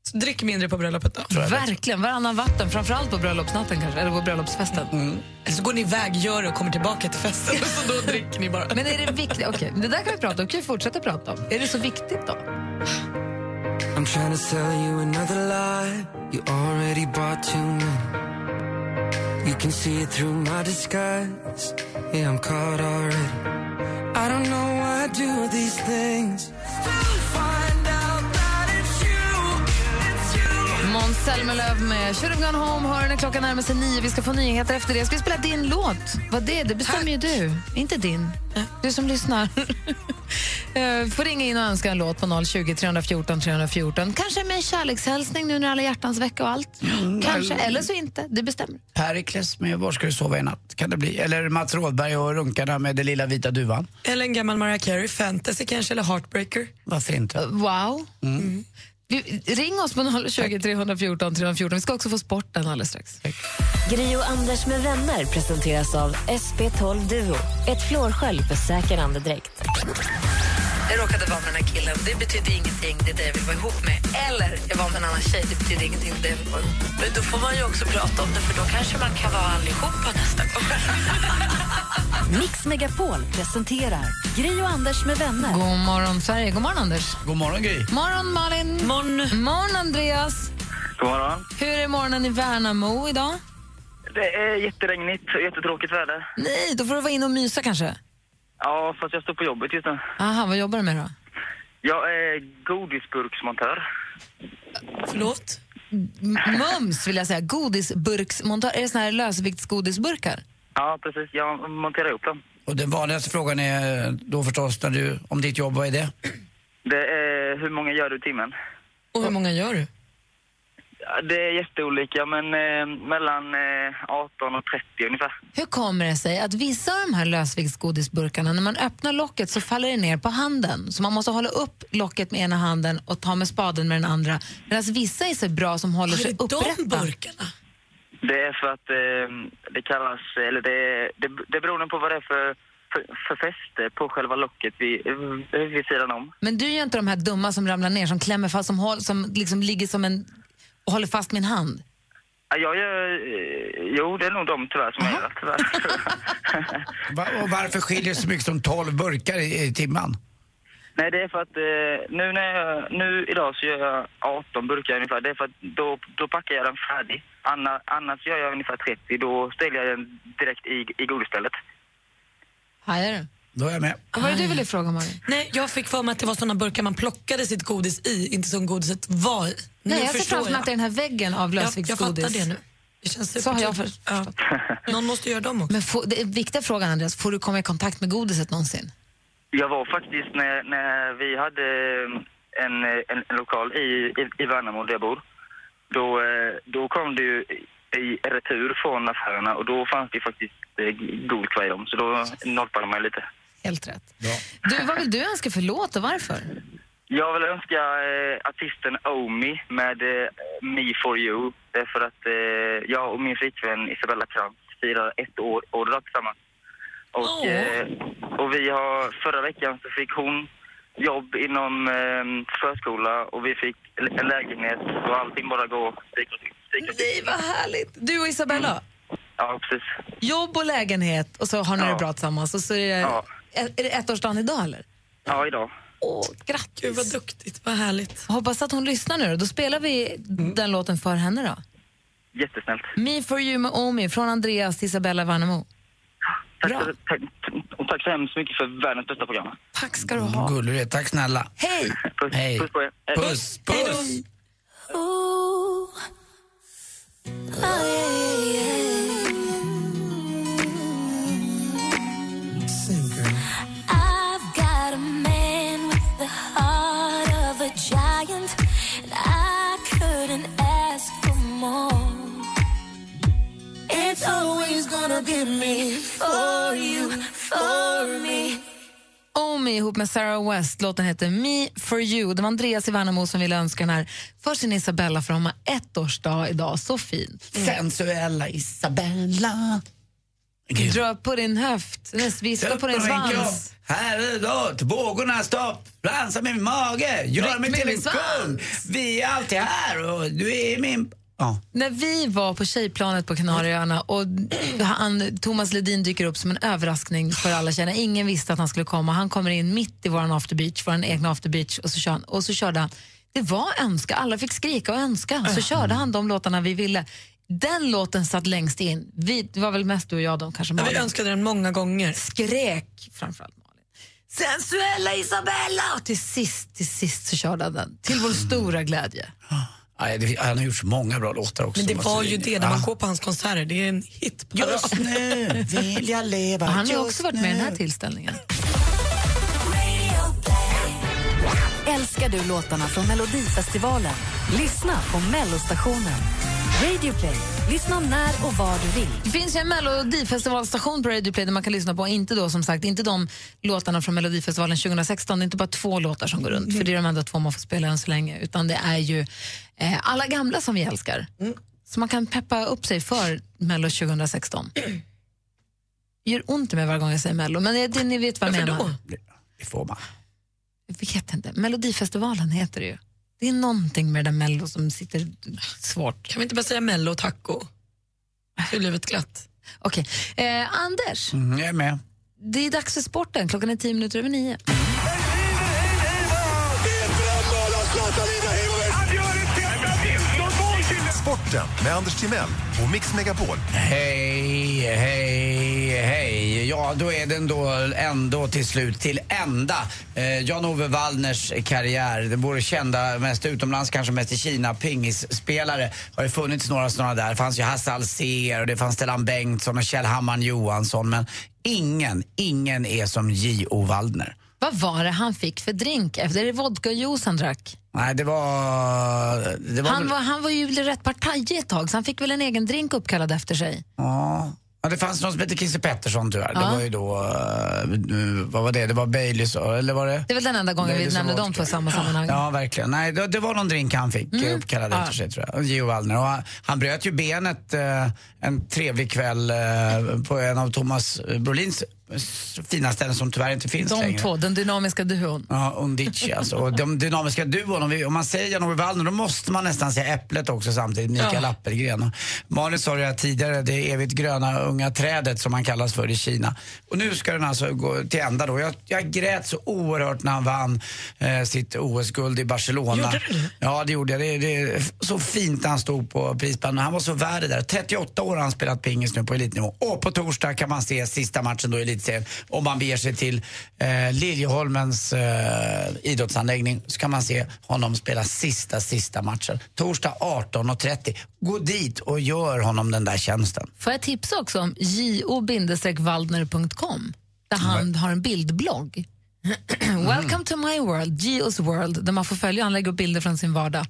E: Så drick mindre på bröllopet då.
C: Mm. Verkligen, varannan vatten. Framförallt på bröllopsnatten kanske, eller på bröllopsfesten.
D: Mm.
E: Eller så går ni iväg, gör det och kommer tillbaka till festen. Så då dricker ni bara.
C: Men är det viktigt? Okej, det där kan vi prata om. kan vi fortsätta prata om. Är det så viktigt då?
R: I'm trying to sell you another lie. You already bought too many. You can see it through my disguise. Yeah, I'm caught already. I don't know why I do these things.
C: Måns Zelmerlöw med Should have gone home. Hör när klockan närmar sig nio. Vi ska få nyheter efter det. Ska vi spela din låt? Vad det är, det bestämmer ju du. Inte din. Du som lyssnar. Eh, får ringa in och önska en låt på 020 314 314. Kanske med en kärlekshälsning nu när alla hjärtans vecka och allt. Kanske,
D: nej.
C: eller så inte. Det bestämmer.
D: Perikles med Var ska du sova i natt? Kan det bli? Eller Mats Rådberg och runkarna med Den lilla vita duvan.
E: Eller en gammal Mariah Carey, Fantasy kanske, eller Heartbreaker.
D: Varför inte?
C: Wow.
D: Mm.
C: Vi, ring oss på 020 314 314. Vi ska också få sporten alldeles strax.
A: Gri och Anders med vänner presenteras av SP12 Duo. Ett flårskölj för säker andedräkt.
C: Jag råkade vara med den här killen, det betyder ingenting, det är det jag vill vara ihop med. Eller jag var med en annan tjej, det betyder ingenting, det är det jag vill vara ihop med.
I: Men då får man ju också prata om det, för då kanske man kan vara allihopa nästa gång.
A: Mix Megapol presenterar Gri och Anders med vänner.
C: God morgon, Sverige. God morgon, Anders.
D: God morgon, Gry.
C: Morgon, Malin. Morgon. Morgon, Andreas.
S: God morgon.
C: Hur är morgonen i Värnamo idag?
S: Det är jätteregnigt och jättetråkigt väder.
C: Nej, då får du vara inne och mysa kanske.
S: Ja, fast jag står på jobbet just nu.
C: Aha, vad jobbar du med då?
S: Jag är godisburksmontör.
E: Förlåt?
C: M- Mums, vill jag säga. Godisburksmontör. Är det såna här lösviktsgodisburkar?
S: Ja, precis. Jag monterar upp dem.
D: Och den vanligaste frågan är då förstås när du, om ditt jobb, vad är det?
S: Det är, hur många gör du i timmen?
E: Och hur många gör du?
S: Ja, Det är jätteolika, men eh, mellan eh, 18 och 30 ungefär.
C: Hur kommer det sig att vissa av de här lösviktsgodisburkarna, när man öppnar locket så faller det ner på handen? Så man måste hålla upp locket med ena handen och ta med spaden med den andra. Medan vissa är så bra som håller sig upprätta.
S: Det är för att eh, det kallas, eller det, det, det beror nog på vad det är för, för, för fäste på själva locket vid, vid sidan om.
C: Men du är ju inte de här dumma som ramlar ner, som klämmer fast, som, håll, som liksom ligger som en... och håller fast min hand.
S: Ja, Jag gör, eh, jo det är nog de tyvärr som jag gör, tyvärr.
D: Va- och varför skiljer det så mycket som 12 burkar i, i timman?
S: Nej, det är för att eh, nu, när jag, nu idag så gör jag 18 burkar ungefär. Det är för att då, då packar jag den färdig. Anna, annars gör jag ungefär 30. Då ställer jag den direkt i, i godisstället.
C: Hajar du?
D: Då är jag med.
C: Vad var det du ville fråga, Malin?
E: Nej, jag fick för mig att det var såna burkar man plockade sitt godis i, inte som godiset var i. Nu
C: Nej, jag ser
E: förstår
C: framför mig att det är den här väggen av
E: Jag-
C: lösviktsgodis.
E: Jag fattar det nu. Det känns
C: Så har jag
E: supertydligt. Ja. Någon måste göra dem också.
C: Men får, det är viktiga frågan, Andreas, får du komma i kontakt med godiset någonsin?
S: Jag var faktiskt när, när vi hade eh, en, eh, en, en lokal i, i, i Värnamo där jag bor. Då, eh, då kom det ju i retur från affärerna och då fanns det ju faktiskt eh, godis kvar i dem. Så då nollade man ju lite.
C: Helt rätt. Du, vad vill du önska för låt och varför?
S: Jag vill önska eh, artisten Omi med eh, Me For You. Det är för att eh, jag och min flickvän Isabella Krantz firar ett år, år idag tillsammans. Och,
T: Åh.
S: eh, och vi har, förra veckan så fick hon jobb inom eh, förskola och vi fick l- en lägenhet och allting bara går stick och stick och stick.
C: Vad härligt! Du och Isabella,
S: Ja, precis.
C: jobb och lägenhet och så har ni det bra tillsammans. Och så är, det,
S: Ja.
C: är är det ettårsdagen idag eller?
S: Ja, idag.
C: Åh, grattis!
E: Gud vad duktigt, vad härligt.
C: Hoppas att hon lyssnar nu då. Då spelar vi den låten för henne då.
S: Jättesnällt.
C: Me for you med Omi från Andreas till Isabella Värnamo.
S: Tack, så- tack, och tack så hemskt mycket för världens bästa program.
Q: Tack ska du
D: ha. Gullig du är. Tack snälla.
Q: Hej!
S: Puss,
D: Hej.
S: puss på er. Hej.
D: Puss, puss.
L: Ooh. Oh, yeah, yeah. I've got a man with the heart of a giant, and I couldn't ask for more. It's always gonna be me for you, for me.
C: Omi ihop med Sarah West. Låten heter Me for you. Det var Andreas i Värnamo som ville önska den här för sin Isabella för hon har ettårsdag idag. Så fint.
D: Mm. Sensuella Isabella.
C: Dra på din höft, Nej, viska på din
D: Upp med kropp.
C: svans.
D: Här utåt, vågorna stopp, dansa med min mage, gör
C: Ryck
D: mig
C: med
D: till
C: min
D: en
C: svans.
D: kung. Vi är alltid här och du är min... Ja.
C: När vi var på tjejplanet på Kanarieöarna och han, Thomas Ledin dyker upp som en överraskning för alla tjejerna. Ingen visste att han skulle komma. Han kommer in mitt i vår after beach, vår egna after beach och så, kör han, och så körde han. Det var önska, alla fick skrika och önska.
D: Äh.
C: Så körde han de låtarna vi ville. Den låten satt längst in. Vi, det var väl mest du och jag då, kanske
E: Ja, vi
C: Malin.
E: önskade den många gånger.
C: Skrek framförallt Malin. Sensuella Isabella! Och till sist, till sist så körde han den. Till vår stora glädje.
D: Nej, det- Han har gjort så många bra låtar också.
E: Men det
D: Mats
E: var ju
D: Lindgren.
E: det, när man
D: Ja.
E: går på hans konserter, det är en hit.
D: Just nu vill jag leva
C: Och han har ju
D: just
C: också varit med i den här
D: nu.
C: tillställningen.
A: Älskar du låtarna från Melodifestivalen? Lyssna på Mellostationen. Radio Play. Lyssna när och var du vill.
C: Det finns ju en Melodifestivalstation på Radio Play där man kan lyssna på, inte då som sagt, inte de låtarna från Melodifestivalen 2016, det är inte bara två låtar som går runt, för det är de enda två man får spela än så länge, utan det är ju eh, alla gamla som vi älskar.
D: Mm.
C: Så man kan peppa upp sig för Mello 2016. gör ont i mig varje gång jag säger Mello, men det, det, ni vet vad jag
D: Varför
C: menar.
D: då? Det får man.
C: Jag vet inte, Melodifestivalen heter det ju. Det är någonting med det där Mello som sitter svårt.
E: Kan vi inte bara säga mello och taco? Det är livet glatt.
C: Okej, eh, Anders,
D: Mm, jag är med.
C: det är dags för sporten, klockan är tio minuter över nio.
K: Sporten med Anders Timell och Mix Megapol.
D: Hej, hej, hej. Ja, då är den då ändå till slut till ända. Eh, Jan-Ove Wallners karriär, den vore kända mest utomlands, kanske mest i Kina, pingisspelare. Har ju funnits några sådana där. Det fanns ju Hasse Alsér och det fanns Stellan Bengtsson och Kjell Hammarn Johansson. Men ingen, ingen är som J.O. Wallner.
C: Vad var det han fick för drink? Efter det vodkajuice han drack?
D: Nej, det var... Det var
C: han,
D: väl-
C: var, han var ju rätt partajig ett tag, så han fick väl en egen drink uppkallad efter sig.
D: Ja. Ja, det fanns någon som hette Christer Pettersson tyvärr.
C: Ja.
D: Det var ju då, eh, vad var det, det var Baileys, eller var det?
C: Det är väl den enda gången vi
D: Baileys och
C: nämnde
D: vodka.
C: dem två i samma Mm. sammanhang.
D: Ja, verkligen. Nej, det, det var någon drink han fick eh, uppkallad efter sig tror jag. Gio Wallner. Och han, han bröt ju benet eh, en trevlig kväll eh, på en av Thomas eh, Brolins s- fina ställen som tyvärr inte finns
C: De
D: längre.
C: två, den dynamiska duon.
D: Ja, Undici alltså. Och de dynamiska duon, om, vi, om man säger Jan-Ove Wallner då måste man nästan säga Äpplet också samtidigt, Mikael
C: Ja.
D: Appelgren. Och Malin sa det här tidigare, det evigt gröna unga trädet som han kallas för i Kina. Och nu ska den alltså gå till ända då. Jag, jag grät så oerhört när han vann eh, sitt OS-guld i Barcelona.
E: Gjorde du det?
D: Ja, det gjorde jag. Det, det är så fint när han stod på prispallen. Han var så värd det där. 38 år har han spelat pingis nu på elitnivå. Och på torsdag kan man se sista matchen då i elitserien. Om man beger sig till eh, Liljeholmens eh, idrottsanläggning så kan man se honom spela sista, sista matchen. Torsdag 18.30. Gå dit och gör honom den där tjänsten.
C: Får jag tipsa också om jo-waldner.com där
D: Mm.
C: han har en bildblogg. Welcome to my world, Gios world, där man får följa och han lägger upp bilder från sin vardag.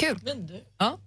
C: Kul. Ja,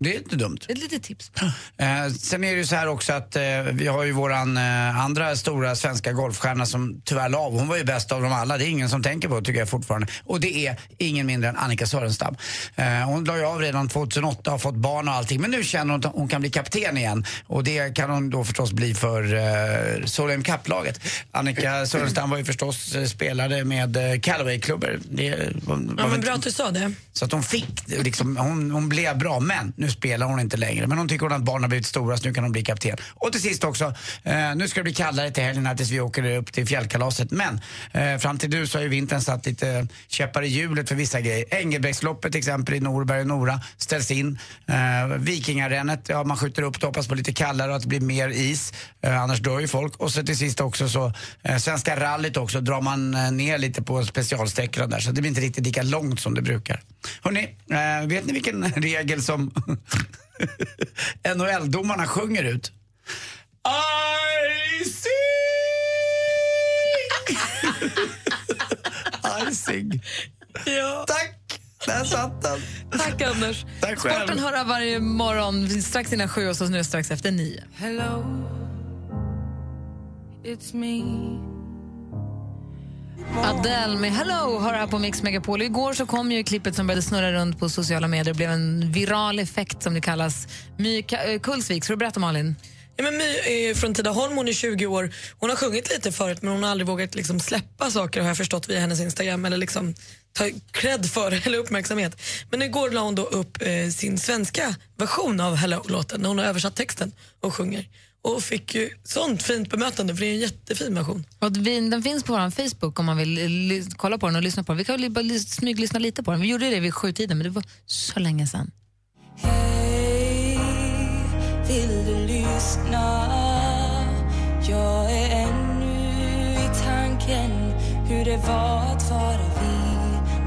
D: Det är inte dumt.
C: ett litet tips.
D: Eh, sen är det ju så här också att eh, vi har ju våran eh, andra stora svenska golfstjärna som tyvärr la av. Hon var ju bäst av dem alla. Det är ingen som tänker på det, tycker jag fortfarande. Och det är ingen mindre än Annika Sörenstam. Eh, hon la ju av redan 2008 har fått barn och allting. Men nu känner hon att hon kan bli kapten igen. Och det kan hon då förstås bli för eh, Solheim Cup-laget. Annika Sörenstam var ju förstås eh, spelare med eh, Callaway-klubbor. Det var- var
E: Ja,
D: väl
E: men
D: inte-
E: bra att du sa det.
D: så att hon fick, liksom, hon, hon blev bra. Men kapten. Nu spelar hon inte längre, men hon tycker hon att barnen har blivit stora så nu kan hon bli kapten. Och till sist också, eh, nu ska det bli kallare till helgen här tills vi åker upp till fjällkalaset. Men eh, fram till nu så har ju vintern satt lite käppar i hjulet för vissa grejer. Engelbrektsloppet till exempel i Norberg och Nora ställs in. Eh, Vikingarennet, ja man skjuter upp det hoppas på lite kallare och att det blir mer is. Eh, annars dör ju folk. Och så till sist också så, eh, Svenska rallyt också drar man eh, ner lite på specialsträckorna där så det blir inte riktigt lika långt som det brukar. Hörrni, eh, vet ni vilken regel som NHL-domarna sjunger ut? I see! Icing.
E: Ja.
D: Tack! Där satt den.
C: Tack, Anders.
D: Tack själv.
C: Sporten hör jag varje morgon strax innan sju och så nu strax efter nio.
R: Hello, it's me.
C: Adele med Hello hör här på Mix Megapol. Igår så kom ju klippet som började snurra runt på sociala medier. Det blev en viral effekt som det kallas. My Ka- eh, Kulsvik, ska du berätta Malin?
E: Ja, men My är ju från Tidaholm, hon är 20 år. Hon har sjungit lite förut men hon har aldrig vågat liksom släppa saker har jag förstått via hennes Instagram eller liksom ta cred för eller uppmärksamhet. Men igår la hon då upp eh, sin svenska version av Hello-låten när hon har översatt texten och sjunger. Och fick ju sånt fint bemötande för det är en jättefin version.
C: Och vi- den finns på vår Facebook om man vill eh, ly- kolla på den och lyssna på den. Vi kan ju bara ly- smyglyssna lite på den. Vi gjorde det vid sjutiden, men det var så länge sedan.
R: Vill du lyssna? Jag är ännu i tanken hur det var att vara vi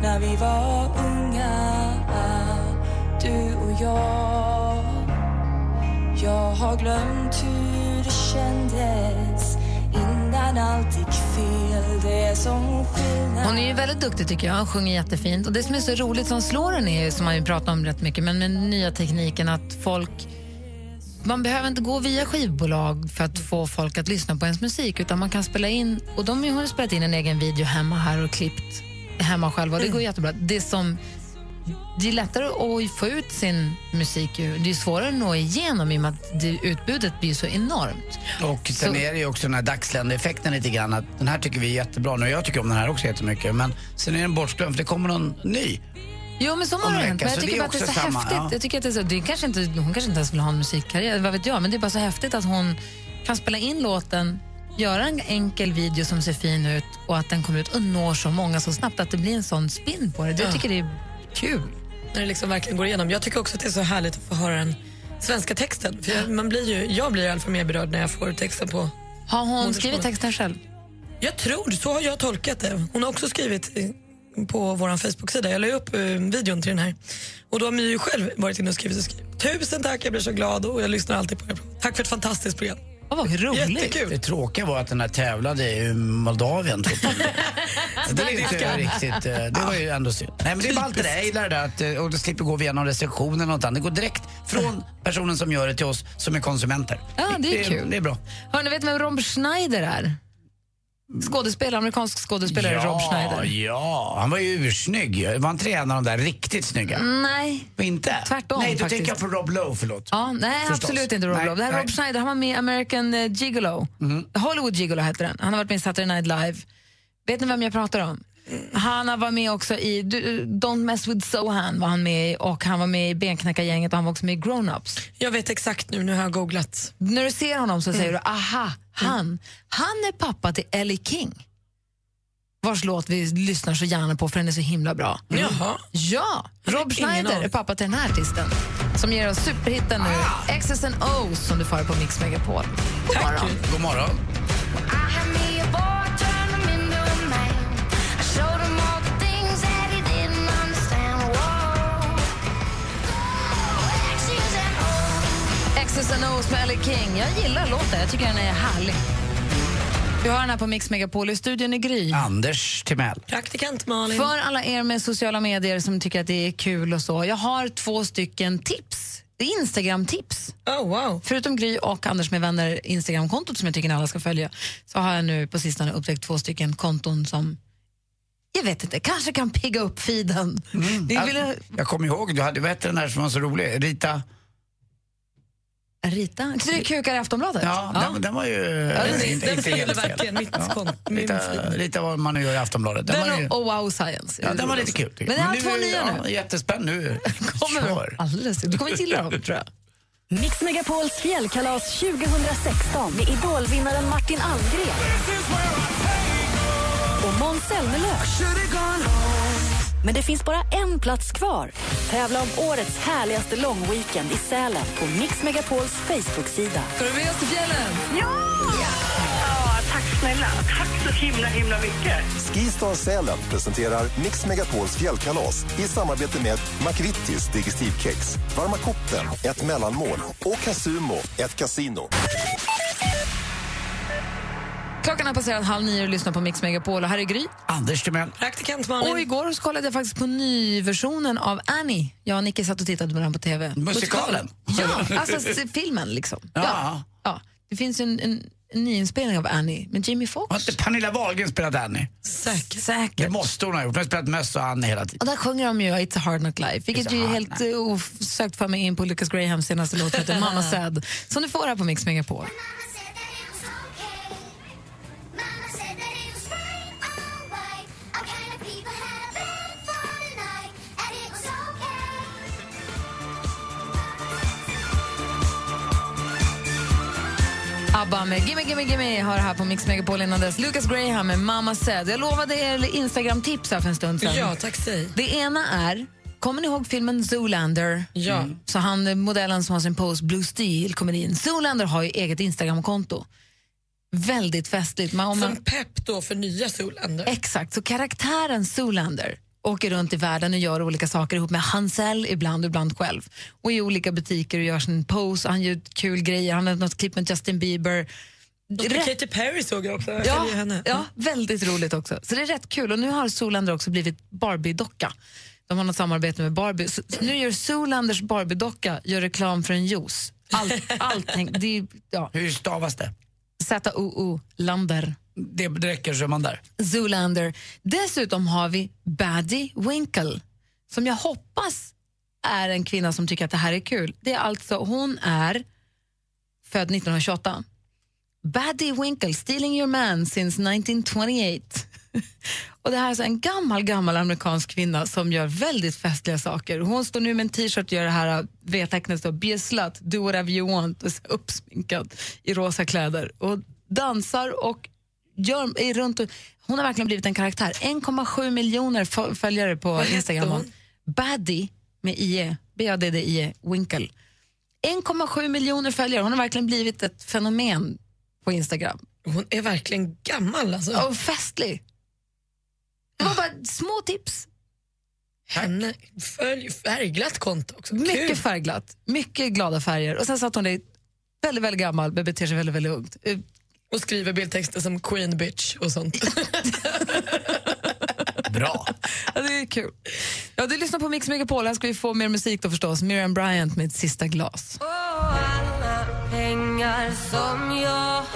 R: när vi var unga, du och jag Jag har glömt hur det kändes innan allt gick fel Det är som skillnad
C: Hon är ju väldigt duktig tycker jag, hon sjunger jättefint. Och det som är så roligt som slår henne är, ju, som man ju pratar om rätt mycket, men med nya tekniken att folk man behöver inte gå via skivbolag för att få folk att lyssna på ens musik utan man kan spela in, och de hon har spelat in en egen video hemma här och klippt hemma själva och det
D: Mm.
C: går jättebra. Det som det är lättare att få ut sin musik ju. Det är svårare att nå igenom i och med att det, utbudet blir så enormt.
D: Och sen
C: Så-
D: är det ju också den här dagsländeeffekten lite grann. Att den här tycker vi är jättebra nu. Jag tycker om den här också jättemycket. Men sen är den bortglömd för det kommer någon ny.
C: Jo, men så
D: Om
C: har det
D: en
C: hänt.
D: vecka,
C: Men jag
D: så
C: tycker
D: det är
C: bara att det är så
D: också samma,
C: häftigt.
D: ja.
C: Jag tycker att det är så, det är kanske inte, hon kanske inte ens vill ha en musikkarriär, vad vet jag. Men det är bara så häftigt att hon kan spela in låten, göra en enkel video som ser fin ut och att den kommer ut och når så många så snabbt att det blir en sån spin på det. Jag
E: Ja.
C: tycker det är kul.
E: När det liksom verkligen går igenom. Jag tycker också att det är så härligt att få höra den svenska texten. För jag, man blir ju, jag blir i alla fall mer berörd när jag får texten på
C: Har hon
E: Modersmålet.
C: skrivit texten själv?
E: Jag tror, så har jag tolkat det. Hon har också skrivit eh, på vår Facebook-sida. Jag la ju upp eh, videon till den här. Och då har My ju själv varit inne och skrivit och skrivit. Tusen tack, jag blir så glad och jag lyssnar alltid på er. Tack för ett fantastiskt program.
C: Oh, vad
D: Jättekul. Det tråkiga var att den här tävlade i Moldavien. tror jag. Så det, är ju inte riktigt, eh, det var ju ändå synd. Nej, men det är bara allt det där. Jag gillar det där att, eh, och det slipper gå via någon restriktion eller något annat. Det går direkt från personen som gör det till oss som är konsumenter.
C: Ja, det är kul.
D: Det är bra.
C: Hörni, vet ni vem Rob Schneider är? Skådespelare, amerikansk skådespelare
D: ja,
C: Rob Schneider.
D: Ja, han var ju ursnygg. Var han inte en av de där riktigt snygga?
C: Nej.
D: Inte?
C: Mm. Tvärtom
D: Nej, då
C: faktiskt.
D: tänker jag på Rob Lowe, förlåt.
C: Ja, nej,
D: Förstås.
C: absolut inte Rob
D: Nej,
C: Lowe. Det här är
D: nej. Mm-hmm.
C: Rob Schneider, han var med i American eh, Gigolo. Hollywood Gigolo heter den. Han har varit med i Saturday Night Live. Vet ni vem jag pratar om? Han har varit med också i du- eh, Don't mess with Sohan var han med i och han var med i Benknackargänget och han var också med i Grown Ups.
E: Jag vet exakt nu, nu har jag googlat.
C: När du ser honom så säger du
D: Mm.
C: aha, han. Han är pappa till Ellie King vars låt vi lyssnar så gärna på för den är så himla bra.
E: Jaha.
C: Ja, Rob
E: ingen
C: Schneider
E: aning.
C: är pappa till den här artisten som ger oss superhitten nu, X's and O's som du får på Mix Megapol. God morgon.
D: God morgon.
C: X's and O's med Ellie King. Jag gillar låten, jag tycker den är härlig. Vi har den här på Mix Megapol i studion i Gry.
D: Anders Timell.
E: Praktikant Malin.
C: För alla er med sociala medier som tycker att det är kul och så. Jag har två stycken tips. Det är Instagram-tips.
E: Oh, wow.
C: Förutom Gry och Anders med vänner Instagram-kontot som jag tycker alla ska följa så har jag nu på sistone upptäckt två stycken konton som jag vet inte, kanske kan pigga upp feeden. Ni
D: Jag,
C: ville-
D: jag kommer ihåg, du hade, vad hette den där som var så rolig? Rita?
C: rita? Så det kukar i Aftonbladet?
D: Ja, Den, den var ju...
C: Ja, den-
D: inte-
C: den
D: inte
C: fyllde
D: helt fel.
C: verkligen mitt konto, min
D: Lite,
C: feed.
D: lite vad man nu gör i Aftonbladet. Den,
C: Den
D: var, ju,
C: och Wow Science.
D: ja, den var lite kul. tycker
C: Men
D: jag.
C: jag har två
D: nu-
C: nya
D: ja,
C: nu.
D: Jättespänd nu.
C: Kommer de? alldeles. Du kommer gilla dem, tror jag.
A: Mix Megapols fjällkalas 2016 med idolvinnaren Martin Almgren. Och Måns Zelmerlöw. Men det finns bara en plats kvar. Tävla om årets härligaste långweekend i Sälen på Mix Megapols Facebook-sida.
C: Ska du med oss till fjällen?
H: Ja, tack snälla. Tack så himla, himla mycket.
K: Skistar Sälen presenterar Mix Megapols fjällkalas i samarbete med McVittys Digestivkex, Varma koppen, ett mellanmål och Casumo, ett kasino.
C: Klockan har passerat halv nio och du lyssnar på Mix Megapol. Och här är Gry.
D: Anders Timell.
E: Praktikant
C: Och igår så kollade jag faktiskt på nyversionen av Annie. Jag och Nicky satt och tittade på den på TV.
D: Musikalen?
C: Ja, alltså s- filmen liksom.
D: Ja.
C: ja. Det finns ju en, en, en nyinspelning av Annie med Jimmy Fox.
D: Har inte Pernilla Wahlgren spelat Annie?
C: Säkert.
D: Det måste hon ha gjort. Hon har spelat möss och Annie hela tiden.
C: Och där sjunger de ju It's a hard knock life, vilket
D: It's a
C: ju är
D: hard
C: helt eh, osökt för mig in på Lucas Grahams senaste låt, heter Mamma Sad, som du får här på Mix Megapol. ABBA med Gimme Gimme Gimme har det här på Mix Megapol innan dess. Lucas Graham med Mamma Said. Jag lovade er Instagram-tips här för en stund sedan.
E: Ja, tack säg.
C: Det ena är, kommer ni ihåg filmen Zoolander?
E: Ja.
C: Så han, eh, modellen som har sin pose, Blue Steel, kommer in. Zoolander har ju eget Instagram-konto. Väldigt festligt. Man, om man,
E: Som pepp då för nya Zoolander.
C: Exakt, så karaktären Zoolander åker runt i världen och gör olika saker ihop med Hansel ibland och ibland själv. Och i olika butiker och gör sin pose, han gör kul grejer, han har något klipp med Justin Bieber.
E: Och
C: Rätt-
E: Katy Perry såg jag också.
C: Ja,
E: Eller henne. Mm.
C: ja, väldigt roligt också. Så det är rätt kul. Och nu har Zoolander också blivit Barbie-docka. De har något samarbete med Barbie. Så så nu gör Zoolanders Barbie-docka gör reklam för en juice. Allt, allting. Det, är- ja.
D: Hur stavas det?
C: Z-O-O, Lander.
D: Det räcker så är man där.
C: Zoolander. Dessutom har vi Baddy Winkle, som jag hoppas är en kvinna som tycker att det här är kul. Det är alltså, hon är född 1928. Baddy Winkle, Stealing Your Man since 1928. Och Det här är alltså en gammal, gammal amerikansk kvinna som gör väldigt festliga saker. Hon står nu med en t-shirt och gör det här äh, V-tecknet, då, be a slut, do whatever you want, och så uppsminkad i rosa kläder. Och dansar och gör, är runt och, hon har verkligen blivit en karaktär. 1,7 miljoner fö- följare på
E: Vad hette
C: Instagram.
E: hon?
C: Baddy med E, IE, B-A-D-D-I-E, Winkle. 1,7 miljoner följare. Hon har verkligen blivit ett fenomen på Instagram.
E: Hon är verkligen gammal alltså.
C: Och festlig. Det var bara små tips.
E: Henne följ färgglatt konto också.
C: Mycket
E: Kul.
C: färgglatt, mycket glada färger. Och sen satt hon där väldigt, väldigt gammal men beter sig väldigt, väldigt ungt. Eh,
E: Och skriver bildtexter som Queen bitch och sånt.
D: Bra.
C: Ja, det är kul. Ja, du lyssnar på Mix Megapol. Här ska vi få mer musik då förstås. Miriam Bryant med ett sista glas.
L: Pengar som jag haft,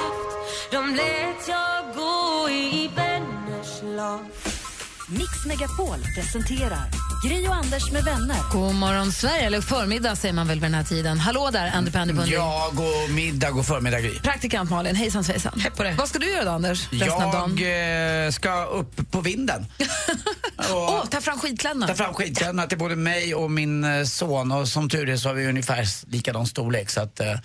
L: de lät jag gå i vänners lag
A: Mix Megapol presenterar Gry och Anders med vänner.
C: God morgon Sverige, eller förmiddag säger man väl vid den här tiden. Hallå där, Andy Pandy Bundy.
D: Ja, god middag, god förmiddag Gry.
C: Praktikant Malin, hejsan svejsan. Vad ska du göra då Anders? Resten av dagen?
D: Jag eh, ska upp på vinden.
C: Åh, ta fram skidkläderna.
D: Ta fram skidkläderna till både mig och min eh, son och som tur är så har vi ungefär likadan storlek så att eh, eh,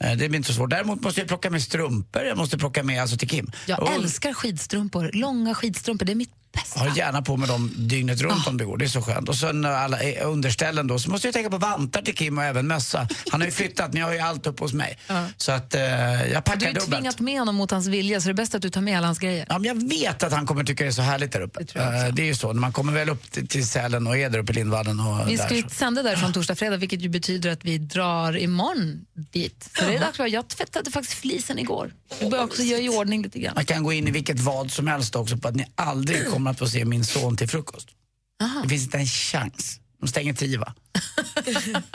D: det blir inte så svårt. Däremot måste jag plocka med strumpor, jag måste plocka med alltså till Kim.
C: Jag
D: Och
C: älskar skidstrumpor. Långa skidstrumpor, det är mitt
D: Har gärna på mig dem dygnet runt om det går, det är så skönt. Och sen eh, alla eh, underställen då, så måste jag tänka på vantar till Kim och även mössa. Han har ju flyttat men jag har ju allt uppe hos mig. Så att eh, jag
C: Du
D: packar
C: har ju
D: dubbelt.
C: tvingat med honom mot hans vilja, så det är bäst att du tar med alla hans grejer.
D: Ja, men jag vet att han kommer tycka det är så härligt där uppe. Eh, Det, är ju så, när man kommer väl upp till, till Sälen och är där uppe i Lindvallen och
C: Vi
D: där.
C: ska
D: så-
C: ju sända därifrån torsdag, fredag, vilket ju betyder att vi drar imorgon dit. Så det är dags för Jag tvättade faktiskt flisen igår. Vi börjar också göra i ordning lite grann.
D: Man kan gå in i vilket vad som helst också på att ni aldrig kommer att få se min son till frukost. Det finns inte en chans. De stänger tio va?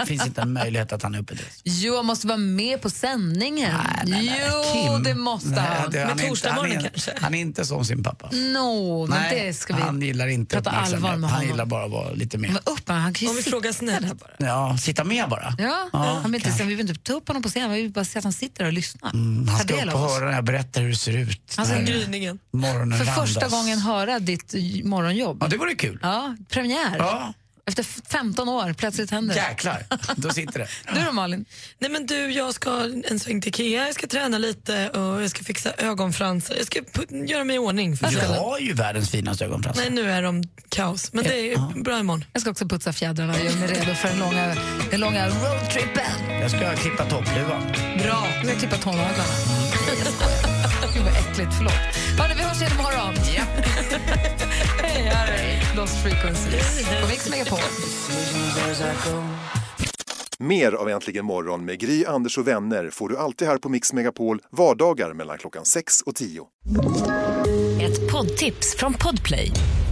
D: Finns inte en möjlighet att han är uppe till dess.
C: Jo, han måste vara med på sändningen. jo, det måste
D: Nej,
C: han.
D: det- han är inte- han är- Han är inte som sin pappa.
C: No, men
D: Nej,
C: det ska vi...
D: han gillar inte
C: prata allvar
D: uppmärksamhet.
C: med
D: Han
C: honom.
D: gillar bara att vara lite mer.
C: Men upp med honom, han kan ju
E: Om vi
C: sitta
E: frågar snälla
C: bara.
D: Ja, sitta med bara.
C: Ja,
D: Ja,
C: han vill inte, se- vi vill inte ta upp honom på scen, vi vill bara se att han sitter och lyssnar.
D: Mm, Han
C: Ta
D: ska
C: del
D: upp
C: av
D: och
C: oss.
D: höra när jag berättar hur det ser ut.
C: Han ska-
D: när
C: Alltså, Gryningen.
D: Morgonen
C: För första
D: randas.
C: gången höra ditt j- morgonjobb.
D: Ja, det vore kul.
C: Ja, premiär.
D: Ja.
C: Efter f- 15 år, plötsligt händer det.
D: Jäklar, då sitter det.
C: Du då Malin?
E: Nej men du, jag ska en sväng till Ikea, jag ska träna lite och jag ska fixa ögonfransar. Jag ska put- göra mig i ordning för
D: Du
E: kvällen.
D: har ju världens finaste ögonfransar.
E: Nej nu är de kaos, men det är bra imorgon.
C: Jag ska också putsa fjädrarna och göra mig redo för den långa, den långa roadtrippen.
D: Jag ska klippa toppluvan.
C: Bra. Nu ska jag klippa tånaglarna. Gud vad äckligt, förlåt. Hörni, vi hörs igen imorgon. Ja. Hej, här är Lost Frequencies på Mix Megapol.
K: Mer av Äntligen morgon med Gry, Anders och vänner får du alltid här på Mix Megapol vardagar mellan klockan 6 och 10.
T: Ett poddtips från Podplay.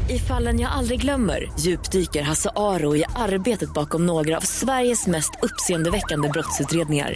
T: I fallen jag aldrig glömmer djupdyker Hasse Aro i arbetet bakom några av Sveriges mest uppseendeväckande brottsutredningar.